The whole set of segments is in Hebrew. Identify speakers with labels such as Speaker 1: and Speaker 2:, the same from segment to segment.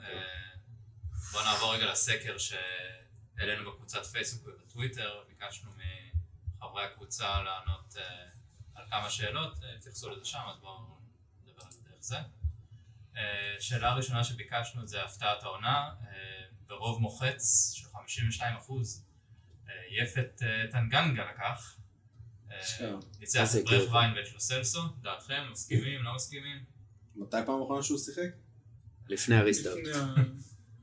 Speaker 1: בואו אוקיי. נעבור רגע לסקר שהעלינו בקבוצת פייסבוק ובטוויטר, ביקשנו מחברי הקבוצה לענות אה, על כמה שאלות, אה, התייחסו לזה שם, אז בואו נדבר על זה דרך זה. אה, שאלה הראשונה שביקשנו זה הפתעת העונה, אה, ברוב מוחץ של 52 אחוז, יפת אה, טנגנגה לקח, אה,
Speaker 2: אשכרה.
Speaker 1: ניצח
Speaker 3: איזה
Speaker 1: את ברך
Speaker 3: גבר.
Speaker 1: ויין ואת לוסלסו, דעתכם, מסכימים, לא מסכימים?
Speaker 2: מתי פעם אחרונה שהוא שיחק?
Speaker 3: לפני הריסטארט.
Speaker 4: לפני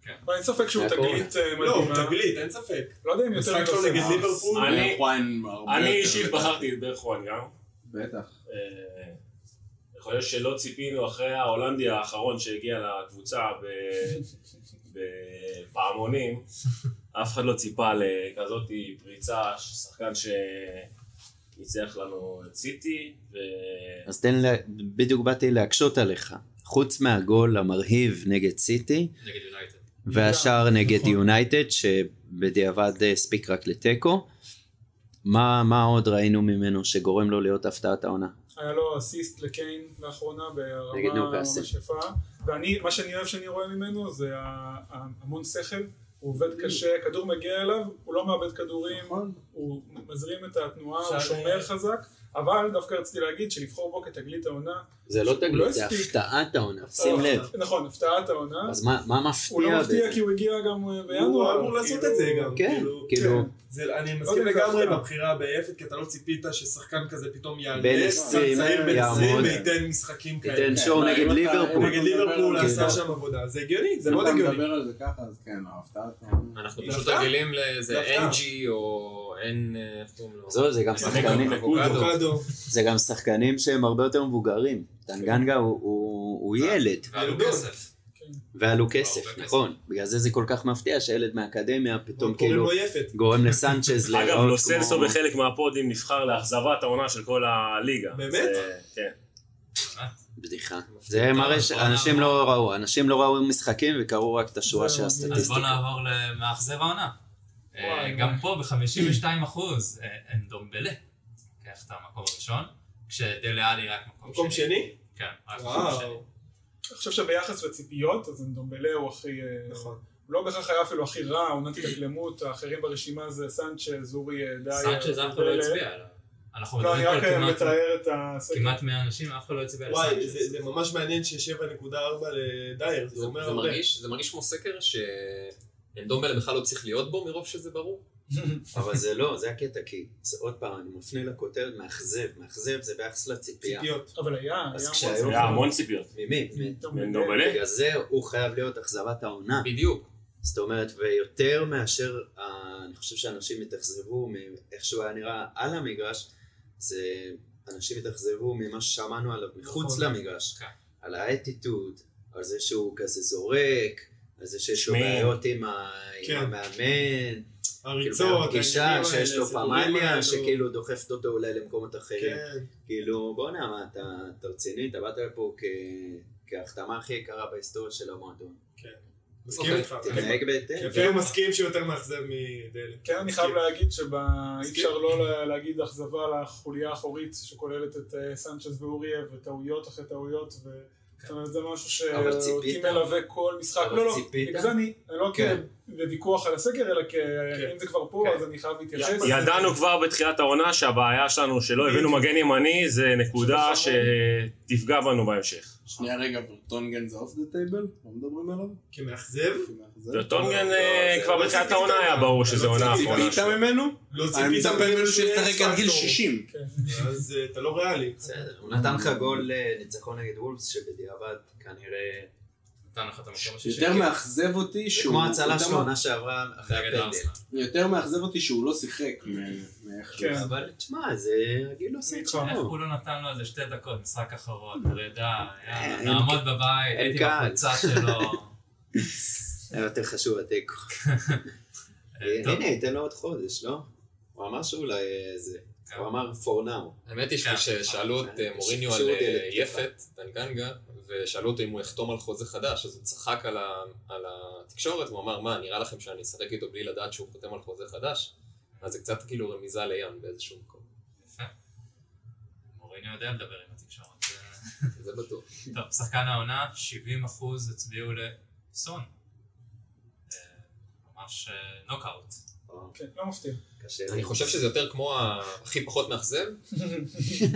Speaker 1: כן.
Speaker 4: ה- אבל אין ספק שהוא
Speaker 3: זה הקורונה.
Speaker 4: תגלית אה, מדהימה.
Speaker 5: לא, הוא תגלית, אין ספק.
Speaker 4: לא יודע אם יותר
Speaker 5: משחק שלו נגד
Speaker 2: אה,
Speaker 4: מלוסלסו.
Speaker 5: ליברפול.
Speaker 6: אני-
Speaker 2: וחואן הרבה
Speaker 6: אני
Speaker 2: יותר
Speaker 6: אישית
Speaker 2: לדעתי.
Speaker 6: בחרתי את ברך חואן גם.
Speaker 2: בטח.
Speaker 6: אה, יכול להיות שלא ציפינו אחרי ההולנדי האחרון שהגיע לקבוצה ב- בפעמונים, אף אחד לא ציפה לכזאת פריצה, שחקן שניצח לנו את סיטי, ו-
Speaker 3: אז תן, לה- בדיוק באתי להקשות עליך. חוץ מהגול המרהיב נגד סיטי,
Speaker 1: נגד יונייטד.
Speaker 3: והשאר נגד
Speaker 4: נכון.
Speaker 3: יונייטד, שבדיעבד אה, הספיק רק לתיקו. מה, מה עוד ראינו ממנו שגורם לו להיות הפתעת העונה?
Speaker 4: היה לו אסיסט לקיין לאחרונה
Speaker 3: נגד
Speaker 4: ברמה
Speaker 3: ניוקאסל.
Speaker 4: ממש יפה. ואני, מה שאני אוהב שאני רואה ממנו זה ה- ה- המון שכל, הוא
Speaker 3: Mm.
Speaker 4: עובד קשה, הכדור מגיע אליו, הוא לא מאבד כדורים,
Speaker 2: נכון.
Speaker 4: הוא מזרים את התנועה, הוא
Speaker 5: אפשר-
Speaker 4: שומר חזק, אבל דווקא רציתי להגיד שלבחור בו כתגלית העונה,
Speaker 3: זה לא
Speaker 4: הוא לא
Speaker 3: תגלית, זה
Speaker 4: הספיק.
Speaker 3: הפתעת העונה, שים לב.
Speaker 4: נכון, הפתעת העונה,
Speaker 3: אז מה, מה מפתיע?
Speaker 4: הוא לא מפתיע
Speaker 3: בזה?
Speaker 4: כי הוא הגיע גם אה, בינואר.
Speaker 5: הוא אמור לעשות את זה
Speaker 4: כאילו-
Speaker 5: גם.
Speaker 3: כן,
Speaker 5: כאילו,
Speaker 3: כאילו,
Speaker 4: כן.
Speaker 5: זה- אני
Speaker 4: יודע,
Speaker 5: מסכים
Speaker 4: זה
Speaker 5: לגמרי עם
Speaker 4: הפתעה.
Speaker 5: הבחירה ביפת, כי אתה לא ציפית ששחקן כזה פתאום יעלה,
Speaker 3: בן
Speaker 5: שחקן
Speaker 3: 20,
Speaker 5: צעיר בן
Speaker 3: יעמוד.
Speaker 5: 20 וייתן משחקים כאלה.
Speaker 3: תיתן שואו
Speaker 2: כן, לא, אם
Speaker 3: נגד
Speaker 2: אתה-
Speaker 3: ליברפול.
Speaker 5: נגד ליברפול
Speaker 2: כן.
Speaker 5: עשה שם עבודה, זה הגיוני, זה
Speaker 2: אם
Speaker 5: מאוד
Speaker 2: אתה
Speaker 5: הגיוני.
Speaker 2: מדבר על זה ככה, אז כן, הפתעת.
Speaker 7: אנחנו
Speaker 5: היא
Speaker 7: פשוט
Speaker 5: דווקא?
Speaker 7: רגילים לאיזה
Speaker 5: דווקא.
Speaker 7: NG או N, אה, איך קוראים לו?
Speaker 3: זהו, זה גם שחקנים,
Speaker 5: אבוקדו.
Speaker 4: כן.
Speaker 3: זה גם שחקנים שהם הרבה יותר מבוגרים. טנגנגה הוא- הוא הוא ילד,
Speaker 1: ועלו
Speaker 5: ילדות.
Speaker 1: כסף.
Speaker 3: והיה לו
Speaker 1: הרבה
Speaker 3: כסף,
Speaker 1: כסף.
Speaker 3: נכון. בגלל זה זה כל כך מפתיע שילד מהאקדמיה פתאום
Speaker 5: קוראים
Speaker 3: כאילו
Speaker 5: לו יפת.
Speaker 3: גורם לסנצ'ז להיראות
Speaker 6: אגב,
Speaker 3: לא,
Speaker 6: לא
Speaker 3: כמו...
Speaker 6: לוסלסו בחלק מהפודים נבחר לאכזבת העונה של כל הליגה.
Speaker 5: באמת?
Speaker 6: זה- כן.
Speaker 3: בדיחה. זה מראה שאנשים לא ראו, אנשים לא ראו משחקים וקראו רק את השורה של
Speaker 1: לא, אז בואו
Speaker 3: הסטטיסטיקה.
Speaker 1: נעבור למאכזב העונה. אה,
Speaker 4: וואי,
Speaker 1: גם פה ב-52 אחוז, אה, אנדומבלה לוקח את המקום הראשון, כשדליאלי רק מקום
Speaker 5: מקום שני?
Speaker 1: כן, רק מקום שני.
Speaker 5: וואו.
Speaker 4: אני חושב שביחס לציפיות, אז אנדומבלה הוא הכי... אה,
Speaker 5: נכון.
Speaker 4: הוא לא בהכרח היה אפילו הכי רע, עונת התאקלמות, האחרים ברשימה זה סנצ'ז, אורי אה, דייר.
Speaker 1: סנצ'ז אף אחד לא
Speaker 4: אנדומבלה.
Speaker 1: הצביע עליו. אנחנו
Speaker 4: לא, אני
Speaker 1: מדברים פה על
Speaker 4: רק אה,
Speaker 1: כמעט-
Speaker 4: מתאר את הסקר.
Speaker 1: כמעט 100 אנשים, אף אחד לא הצביע על
Speaker 5: וואי, זה-
Speaker 1: סנצ'ז.
Speaker 5: זה ממש מעניין ש-7.4 לדייר, זה
Speaker 7: זה
Speaker 5: אומר
Speaker 7: זה
Speaker 5: הרבה.
Speaker 7: מרגיש- זה מרגיש כמו סקר שאנדומבלה בכלל לא צריך להיות בו מרוב שזה ברור.
Speaker 3: אבל זה לא, זה הקטע, כי זה עוד פעם, אני מפנה לכותרת מאכזב, מאכזב זה ביחס לציפייה.
Speaker 5: ציפיות.
Speaker 4: אבל היה, היה...
Speaker 3: אז
Speaker 4: המון
Speaker 3: כשהיום-
Speaker 4: שחקנים.
Speaker 6: היה המון ציפיות.
Speaker 3: ממי?
Speaker 4: אנדומבלה.
Speaker 1: כן.
Speaker 6: אנדומבלה?
Speaker 3: בגלל זה הוא חייב להיות אכזבת העונה.
Speaker 7: בדיוק.
Speaker 3: זאת אומרת, ויותר מאשר, אה, אני חושב שאנשים התאכזבו מאיך שהוא היה נראה על המגרש, זה אנשים התאכזבו ממה ששמענו עליו מחוץ
Speaker 4: נכון.
Speaker 3: למגרש.
Speaker 1: כן.
Speaker 3: על האטיטוד, על זה שהוא כזה זורק, על זה שיש לו
Speaker 6: שמי.
Speaker 3: בעיות עם ה-
Speaker 5: כן.
Speaker 3: עם המאמן, כאילו
Speaker 5: הריצות,
Speaker 3: בפגישה
Speaker 5: העניינים
Speaker 3: שיש
Speaker 5: האלה,
Speaker 3: לו
Speaker 5: הסיפורים
Speaker 3: פמליה,
Speaker 5: האלו.
Speaker 3: שכאילו דוחפת אותו אולי למקומות אחרים.
Speaker 5: כן.
Speaker 3: כאילו, בוא'נה, מה, אתה אתה רציני? אתה באת לפה כ- כהחתמה הכי יקרה בהיסטוריה של המועדון.
Speaker 5: מסכים איתך.
Speaker 3: תתנהג בהתאם.
Speaker 5: אפילו מסכים שהוא יותר מאכזב מדלק.
Speaker 4: כן, אני חייב להגיד שאי
Speaker 5: מסכים.
Speaker 4: אפשר לא לה- להגיד אכזבה לחוליה האחורית שכוללת את אה, סנצ'ז ואוריה וטעויות אחרי טעויות ו... זאת אומרת, זה משהו
Speaker 3: כן. אבל ציפית.
Speaker 4: שאותי מלווה כל משחק.
Speaker 3: אבל
Speaker 4: לא, לא,
Speaker 3: ציפית.
Speaker 4: בגלל זה אני, לא
Speaker 3: כן.
Speaker 4: כוויכוח על הסקר, אלא כ...
Speaker 5: כן.
Speaker 4: אם זה כבר פה,
Speaker 5: כן.
Speaker 4: אז אני חייב להתייחס.
Speaker 6: ידענו כבר בתחילת העונה שהבעיה שלנו שלא הבאנו מגן ימני זה נקודה שתפגע בנו בהמשך.
Speaker 2: שנייה רגע, וטונגן זה אוף דה טייבל? לא מדברים עליו?
Speaker 5: כמאכזב?
Speaker 2: זה-
Speaker 6: וטונגן
Speaker 3: לא,
Speaker 6: אה,
Speaker 3: זה
Speaker 6: כבר
Speaker 3: לא
Speaker 6: בתחילת
Speaker 5: ציפית.
Speaker 6: העונה היה ברור
Speaker 5: אתה
Speaker 6: שזה
Speaker 5: לא
Speaker 6: עונה
Speaker 5: ציפית.
Speaker 6: האחרונה.
Speaker 5: ציפית ממנו? לא
Speaker 2: אני
Speaker 5: ציפית
Speaker 2: מצפה ממנו
Speaker 5: שהוא יהיה
Speaker 2: שישחק עד גיל
Speaker 5: פקטור.
Speaker 2: 60.
Speaker 4: כן.
Speaker 5: אז אה, אתה לא ריאלי.
Speaker 3: בסדר, הוא נתן לך גול אה, ניצחון נגד וולפס שבדיעבד כנראה...
Speaker 1: נתן לך את המקום השישי. כן.
Speaker 2: יותר מאכזב אותי
Speaker 3: זה
Speaker 2: שהוא...
Speaker 3: כמו ההצלה
Speaker 2: יותר
Speaker 3: של
Speaker 2: מא-
Speaker 3: העונה שעברה אחרי
Speaker 1: נגד
Speaker 3: הפנדל.
Speaker 1: ארסנל.
Speaker 2: יותר מאכזב אותי שהוא לא שיחק מ- מאיך שהוא...
Speaker 4: כן.
Speaker 3: אבל תשמע, זה הגיל עושה את
Speaker 1: איך
Speaker 3: שלו.
Speaker 1: הוא לא נתן לו איזה שתי דקות, משחק אחרון, פרידה, יאללה,
Speaker 3: אין-
Speaker 1: נעמוד בבית,
Speaker 3: אין
Speaker 1: הייתי
Speaker 3: קהל.
Speaker 1: בקבוצה שלו.
Speaker 3: היה יותר חשוב התיקו.
Speaker 1: אה, טוב.
Speaker 3: הנה, ייתן לו עוד חודש, לא? הוא אמר שאולי אה, זה.
Speaker 1: כן.
Speaker 3: הוא אמר for now.
Speaker 7: האמת היא ששאלו את אה, מוריניו
Speaker 3: שהוא
Speaker 7: על אה,
Speaker 3: דלת פתוחה.
Speaker 7: יפת, טנגנגה, ושאלו אותו אם הוא יחתום על חוזה חדש, אז הוא צחק על ה- על התקשורת, והוא אמר, מה, נראה לכם שאני אשחק איתו בלי לדעת שהוא חותם על חוזה חדש? אז זה קצת כאילו רמיזה לים באיזשהו מקום.
Speaker 1: יפה. מוריניו יודע לדבר עם התקשורת. זה-
Speaker 7: זה בטוח.
Speaker 1: טוב, שחקן העונה, 70% הצביעו לסון. אה, ממש אה, נוקאוט.
Speaker 3: או,
Speaker 4: כן, לא מפתיע.
Speaker 3: קשה.
Speaker 7: אני חושב שזה יותר כמו הכי פחות מאכזב,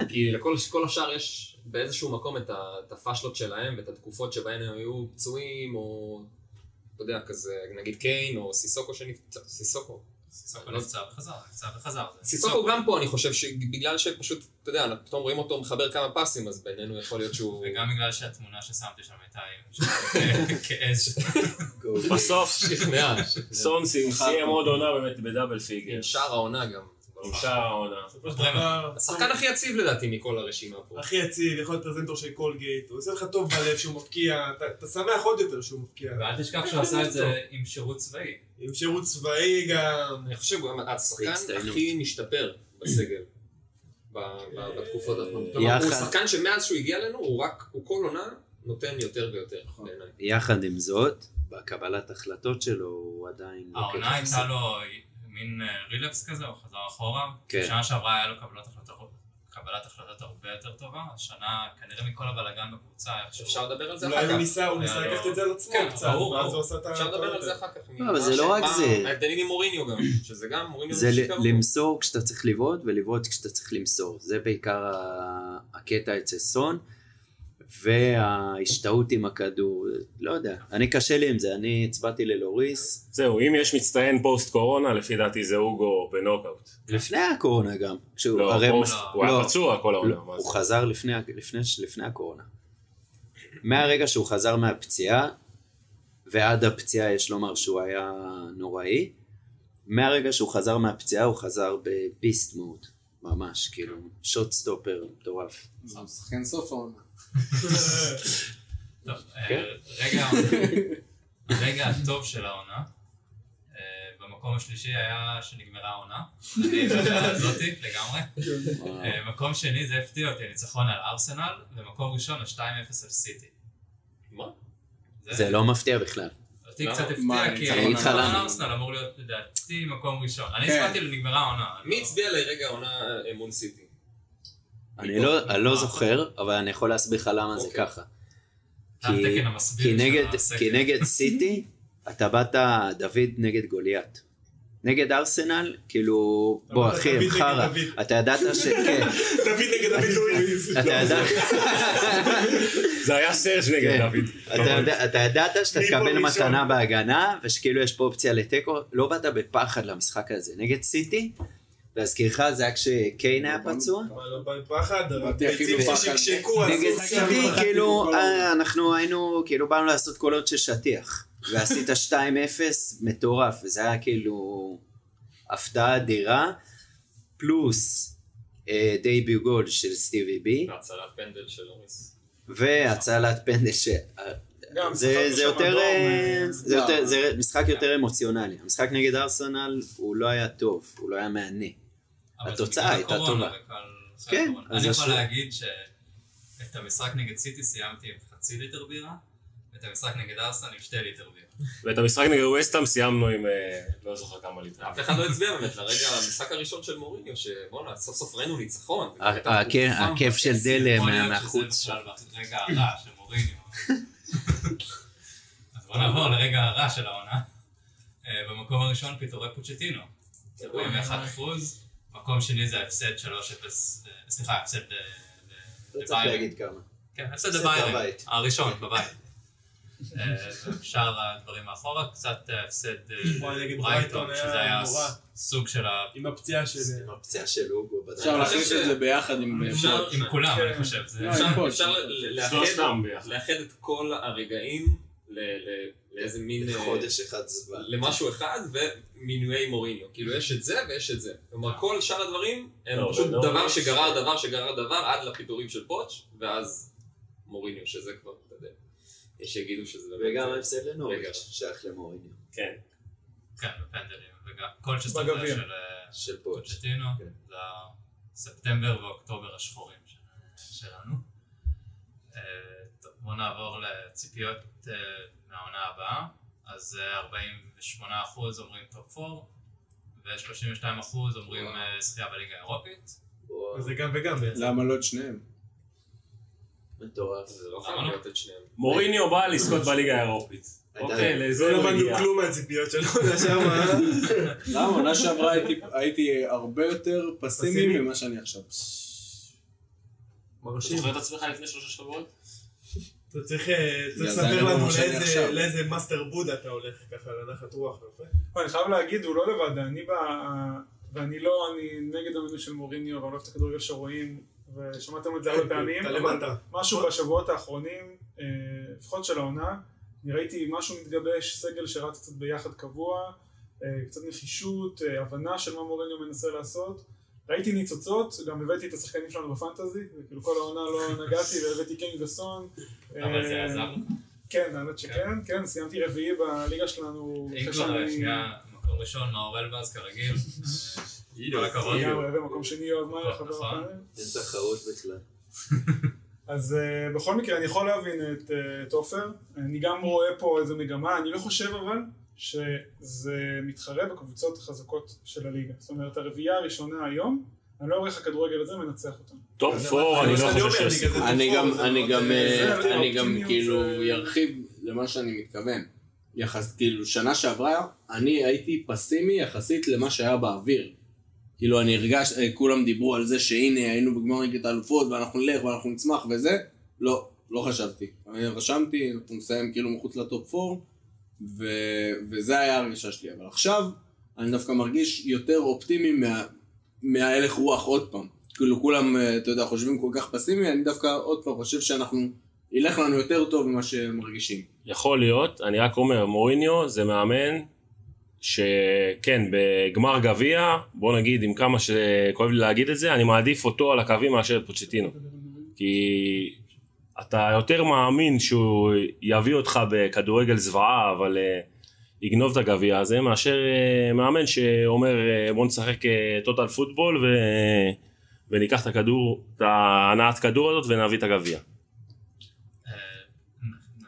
Speaker 7: כי לכל כל השאר יש באיזשהו מקום את ה- את הפאשלות שלהם ואת התקופות שבהן הם היו פצועים, או אתה יודע, כזה, נגיד קיין, או סיסוקו שנפצע, סיסוקו.
Speaker 1: סיסוקו
Speaker 7: לא-
Speaker 1: נפצע וחזר, נפצע וחזר. זה
Speaker 7: סיסוקו גם פה, אני חושב שבגלל שפשוט, אתה יודע, אנחנו פתאום רואים אותו מחבר כמה פסים, אז בינינו יכול להיות שהוא...
Speaker 1: וגם בגלל שהתמונה ששמתי שם הייתה עם כעז.
Speaker 3: Go.
Speaker 6: בסוף
Speaker 7: שכנעה, שכנעה.
Speaker 6: סונסין סיים עוד עונה באמת בדאבל פיגר.
Speaker 5: כן.
Speaker 7: עם שאר העונה גם.
Speaker 6: עם שאר העונה.
Speaker 5: בסופו של דבר,
Speaker 7: השחקן הכי יציב לדעתי מכל הרשימה פה.
Speaker 5: הכי יציב, יכול להיות פרזנטור של קולגייט, הוא עושה לך טוב בלב שהוא מפקיע, אתה- אתה שמח עוד יותר שהוא מפקיע.
Speaker 1: ואל תשכח שהוא עשה את זה עם שירות צבאי.
Speaker 5: עם שירות צבאי גם.
Speaker 7: אני חושב גם השחקן
Speaker 3: בהצטיינות.
Speaker 7: הכי משתפר בסגל. ב- ב- בתקופות האחרונות.
Speaker 3: אה,
Speaker 7: כלומר, הוא
Speaker 3: יחד.
Speaker 7: שחקן שמאז שהוא הגיע אלינו, הוא רק, הוא כל עונה נותן יותר ויותר
Speaker 5: נכון.
Speaker 7: בעיניי.
Speaker 3: יחד עם זאת, בקבלת החלטות שלו הוא עדיין... לוקח
Speaker 1: העונה הייתה
Speaker 3: יחסית.
Speaker 1: לו מין אה, רילפס כזה, הוא חזר אחורה.
Speaker 3: כן.
Speaker 1: שנה שעברה היה לו קבלת החלטות- קבלת החלטות הרבה יותר טובה, השנה כנראה מכל הבלאגן בקבוצה איכשהו.
Speaker 7: אפשר לדבר על זה
Speaker 5: אולי
Speaker 7: אחר
Speaker 5: הוא
Speaker 7: כך.
Speaker 5: ניסה, הוא ניסה
Speaker 1: היה
Speaker 5: לקחת
Speaker 1: לו-
Speaker 5: את זה על עצמו
Speaker 1: כן,
Speaker 5: קצת,
Speaker 1: ברור,
Speaker 5: ואז
Speaker 1: ברור.
Speaker 5: הוא עשה את ה...
Speaker 7: אפשר לדבר על זה אחר כך.
Speaker 3: אבל זה לא רק
Speaker 7: מה-
Speaker 3: זה.
Speaker 7: ההבדלים עם מוריניו גם, שזה גם מוריניו
Speaker 3: זה ל-
Speaker 7: שיקר פה.
Speaker 3: למסור כשאתה צריך לבעוט ולבעוט כשאתה צריך למסור. זה בעיקר ה- הקטע אצל סון, וההשתאות עם הכדור, לא יודע. אני קשה לי עם זה, אני הצבעתי ללוריס,
Speaker 6: זהו, אם יש מצטיין פוסט קורונה, לפי דעתי זה אוגו בנוקאוט.
Speaker 3: לפני הקורונה גם. כשהוא
Speaker 6: לא,
Speaker 3: הרי...
Speaker 6: פוסט,
Speaker 1: לא.
Speaker 6: הוא היה
Speaker 3: לא.
Speaker 6: פצוע כל העונה.
Speaker 3: לא,
Speaker 6: מה
Speaker 3: הוא
Speaker 6: נכון, זה?
Speaker 3: חזר לפני, ה- לפני, ש- לפני הקורונה. מהרגע שהוא חזר מהפציעה, ועד הפציעה יש לומר שהוא היה נוראי, מהרגע שהוא חזר מהפציעה הוא חזר בביסט מוד, ממש, כאילו, שוט סטופר מטורף.
Speaker 2: זה שחקן סוף העונה.
Speaker 1: טוב, אה,
Speaker 3: כן.
Speaker 1: רגע, הרגע הטוב של העונה. אה, במקום השלישי היה שנגמרה העונה. אני בדעה הזאתי לגמרי. אה, מקום שני זה הפתיע אותי, הניצחון על ארסנל, ומקום ראשון ה-2-0 על סיטי.
Speaker 7: מה?
Speaker 3: זה לא מפתיע בכלל.
Speaker 1: אותי
Speaker 7: למה?
Speaker 1: קצת
Speaker 2: מה,
Speaker 1: הפתיע, כי
Speaker 2: אני
Speaker 3: אגיד לך למה.
Speaker 1: על ארסנל אמור להיות לדעתי מקום ראשון. אני
Speaker 2: כן.
Speaker 1: הספקתי לנגמרה העונה. לא.
Speaker 7: מי הצביע לרגע העונה אה, מול סיטי?
Speaker 3: אני לא, אני לא זוכר, אבל אני יכול להסביר לך למה זה
Speaker 7: אוקיי.
Speaker 3: ככה.
Speaker 1: זה התקן המסביר
Speaker 3: כי
Speaker 1: של
Speaker 3: נגד,
Speaker 1: הסקר.
Speaker 3: כי נגד סיטי, אתה באת דוד נגד גוליית. נגד ארסנל, כאילו, בוא
Speaker 5: אמרת דוד
Speaker 3: אחי, הם
Speaker 5: נגד
Speaker 3: חרא.
Speaker 5: דוד.
Speaker 3: אתה ידעת ש... כן,
Speaker 5: דוד נגד דוד לואיז.
Speaker 3: אתה ידעת...
Speaker 6: זה היה סרג'
Speaker 3: כן.
Speaker 6: נגד דוד.
Speaker 3: אתה יודע- אתה ידעת שאתה
Speaker 5: מי פה
Speaker 3: תקבל
Speaker 5: לא, ראשון?
Speaker 3: מתנה בהגנה, ושכאילו יש פה אופציה לתיקו, לא באת בפחד למשחק הזה. נגד סיטי, להזכירך זה היה כשקיין היה פצוע.
Speaker 5: לא פחד,
Speaker 2: באתי הכי
Speaker 5: הביצים
Speaker 2: בפחד.
Speaker 5: ששקשקו, עשו
Speaker 3: נגד
Speaker 5: את
Speaker 3: סיטי,
Speaker 5: הקו.
Speaker 3: כאילו,
Speaker 2: כל
Speaker 3: אה, אנחנו היינו, כאילו, באנו לעשות קולות של שטיח. ועשית 2-0, מטורף, וזה היה כאילו הפתעה אדירה, פלוס אה, דייביו גול של סטיבי בי,
Speaker 7: הצלת פנדל של אוריס.
Speaker 3: והצלת פנדל ש...
Speaker 4: גם,
Speaker 3: זה,
Speaker 4: ספגנו
Speaker 3: זה
Speaker 4: שם
Speaker 3: יותר, אה,
Speaker 4: אדום,
Speaker 3: זה
Speaker 2: לא.
Speaker 3: יותר, זה משחק יותר אמוציונלי. המשחק נגד ארסנל הוא לא היה טוב, הוא לא היה מהנה.
Speaker 1: אבל זה
Speaker 3: התוצאה
Speaker 1: בגלל
Speaker 3: הייתה
Speaker 1: הקורונה
Speaker 3: טובה.
Speaker 1: וכל- אחרי
Speaker 3: כן,
Speaker 1: הקורונה.
Speaker 3: אז
Speaker 1: אני יכול
Speaker 3: השאלה-
Speaker 1: להגיד שאת המשחק נגד סיטי סיימתי עם חצי ליטר בירה, ואת המשחק נגד ארסנל עם שתי ליטר בירה.
Speaker 6: ואת המשחק נגד ווסטהאם סיימנו עם... אה, לא זוכר כמה ליטר.
Speaker 7: אף אחד לא הצביע באמת לרגע המשחק הראשון של מוריניו, שבואנה, סוף סוף ראינו ניצחון.
Speaker 3: ה- ה- הכיף- הכיף של דלה
Speaker 1: יכול
Speaker 3: מה-
Speaker 1: להיות
Speaker 3: מהחוץ.
Speaker 1: שזה בכלל רגע הרע של מוריניו. אז בוא נעבור לרגע הרע של העונה. אה, במקום הראשון פיטורי פוצ'טינו. 41 אחוז. מקום שני זה ההפסד 3-0, אה, סליחה, ההפסד אה, ל-
Speaker 3: לא צריך
Speaker 1: לביירן.
Speaker 3: להגיד כמה.
Speaker 1: כן, הפסד
Speaker 3: הפסד
Speaker 1: הביירן,
Speaker 3: בבית.
Speaker 1: הראשון בבית. אה, שאר הדברים מאחורה, קצת אה, הפסד אה,
Speaker 5: וואי, נגד
Speaker 1: ברייטון,
Speaker 5: ברייטון היה
Speaker 1: שזה היה
Speaker 5: נורא.
Speaker 1: סוג של ה...
Speaker 5: עם הפציעה של...
Speaker 3: עם הפציעה של אוגו
Speaker 2: אפשר
Speaker 3: בדרך.
Speaker 2: להכניס את זה ביחד עם...
Speaker 7: אפשר-
Speaker 1: עם כולם,
Speaker 4: כן.
Speaker 1: אני חושב. זה-
Speaker 2: לא,
Speaker 1: אפשר-
Speaker 2: עם כל-
Speaker 7: אפשר ל- ל- לאחד-
Speaker 6: שלושתם ביחד.
Speaker 7: לאחד את כל הרגעים ל- ל- לאיזה מין... אה,
Speaker 3: חודש אחד זמן.
Speaker 7: למשהו אחד ומינויי מוריניו. כאילו יש את זה ויש את זה. כלומר כל שאר הדברים הם
Speaker 6: לא,
Speaker 7: פשוט
Speaker 6: לא,
Speaker 7: דבר
Speaker 6: לא.
Speaker 7: שגרר דבר שגרר דבר עד לפיטורים של פוטש, ואז מוריניו, שזה כבר, אתה יודע, יש שיגידו שזה באמת... אה,
Speaker 3: וגם ההפסד
Speaker 7: רגע.
Speaker 3: לנוריץ' שייך למוריניו.
Speaker 6: כן.
Speaker 1: כן, בפנדלים, וגם כל שסטרטר
Speaker 4: בגביע.
Speaker 1: של אה,
Speaker 3: של פוץ'.
Speaker 1: פוצ'טינו,
Speaker 3: כן.
Speaker 1: זה ספטמבר ואוקטובר השחורים של- שלנו. אה, טוב, בואו נעבור לציפיות אה, מהעונה הבאה. אז אה, 48% אומרים טופ 4, ו-32% אומרים
Speaker 7: וואו.
Speaker 1: אה, זכייה בליגה האירופית.
Speaker 3: וואו.
Speaker 5: זה גם וגם בעצם.
Speaker 2: למה לא את שניהם?
Speaker 3: מטורף.
Speaker 7: זה לא
Speaker 1: אוקיי,
Speaker 7: חייב להיות את שניהם.
Speaker 6: מוריניו בא לזכות בליגה האירופית. אוקיי, לזה
Speaker 5: לא
Speaker 6: הוא
Speaker 5: למדנו
Speaker 6: הגיע.
Speaker 5: כלום מהציפיות שלנו. אה?
Speaker 2: למה? עונה שעברה הייתי- הייתי הרבה יותר פסימי ממה שאני עכשיו.
Speaker 1: אתה
Speaker 4: אוקיי.
Speaker 1: זוכר את עצמך לפני שלושה שבועות?
Speaker 5: אתה צריך אה,
Speaker 2: בגלל
Speaker 5: צריך
Speaker 2: זה אני
Speaker 5: לספר
Speaker 2: לא
Speaker 5: לנו
Speaker 2: מרשה לי
Speaker 5: לאיזה-
Speaker 2: עכשיו.
Speaker 5: לאיזה מאסטר בודה אתה הולך ככה לנחת רוח. יפה.
Speaker 4: אבל אני חייב להגיד, הוא לא לבד, אני ב... ואני לא, אני נגד המינוי של מוריניו, ואני לא אוהב את הכדורגל שרואים, ושמעתם את זה
Speaker 3: כן,
Speaker 4: הרבה פעמים.
Speaker 5: אתה
Speaker 4: אבל
Speaker 5: למטה.
Speaker 4: משהו בשבועות האחרונים, אה, לפחות של העונה, אני ראיתי משהו מתגבש, סגל שרץ קצת ביחד קבוע, אה, קצת נחישות, אה, הבנה של מה מוריניו מנסה לעשות. ראיתי ניצוצות, גם הבאתי את השחקנים שלנו בפנטזי, וכאילו כל העונה לא נגעתי, והבאתי קיינג וסון.
Speaker 1: אבל זה
Speaker 4: אה,
Speaker 1: עזר.
Speaker 4: כן, האמת שכן, כן, סיימתי רביעי בליגה שלנו.
Speaker 1: אם
Speaker 4: אחרי
Speaker 1: כבר,
Speaker 4: שאני-
Speaker 1: שנייה, מקום ראשון, מאור אלבז כרגיל. כל הכבוד.
Speaker 4: לגמרי, במקום שני יואב מאיר חבר
Speaker 1: נכון.
Speaker 4: הפעמים.
Speaker 3: אין תחרות בכלל.
Speaker 4: אז אה, בכל מקרה, אני יכול להבין את אה, את עופר. אני גם רואה פה איזה מגמה, אני לא חושב אבל שזה מתחרה בקבוצות החזקות של הליגה. זאת אומרת, הרביעייה הראשונה היום, אני לא רואה איך הכדורגל הזה מנצח אותנו.
Speaker 6: טופ פור, אני לא חושב שיש סיכוי.
Speaker 2: אני גם,
Speaker 5: לא
Speaker 2: אני גם, אה,
Speaker 4: זה
Speaker 2: אני גם
Speaker 4: האופטימיות
Speaker 2: כאילו
Speaker 4: זה-
Speaker 2: ירחיב למה שאני מתכוון. יחס, כאילו שנה שעברה אני הייתי פסימי יחסית למה שהיה באוויר. כאילו אני הרגש, אה, כולם דיברו על זה שהנה היינו בגמר ליגת האלופות ואנחנו נלך ואנחנו נצמח וזה, לא, לא חשבתי. אני רשמתי, אנחנו נסיים כאילו מחוץ לטופ 4 ו... וזה היה הרגשה שלי. אבל עכשיו אני דווקא מרגיש יותר אופטימי מה... מההלך רוח עוד פעם. כאילו כולם, אה, אתה יודע, חושבים כל כך פסימי, אני דווקא עוד פעם חושב שאנחנו, ילך לנו יותר טוב ממה שמרגישים.
Speaker 6: יכול להיות, אני רק אומר, מוריניו זה מאמן שכן, בגמר גביע, בוא נגיד, עם כמה שכואב לי להגיד את זה, אני מעדיף אותו על הקווים מאשר את פוצ'טינו. כי אתה יותר מאמין שהוא יביא אותך בכדורגל זוועה, אבל אה, יגנוב את הגביע הזה, מאשר אה, מאמן שאומר אה, בוא נשחק טוטל פוטבול ו... אה, וניקח את הכדור, את ההנעת כדור הזאת ונביא את הגביע.
Speaker 1: אה,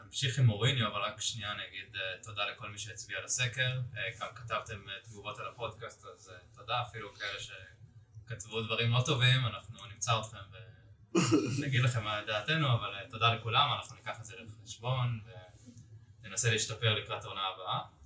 Speaker 1: נמשיך עם מוריניו, אבל רק שנייה אני אגיד אה, תודה לכל מי שהצביע לסקר. אה, גם כתבתם אה, תגובות על הפודקאסט, אז אה, תודה, אפילו כאלה שכתבו דברים לא טובים, אנחנו נמצא אתכם ונגיד לכם מה דעתנו, אבל אה, תודה לכולם, אנחנו ניקח את זה לחשבון וננסה להשתפר לקראת העונה הבאה.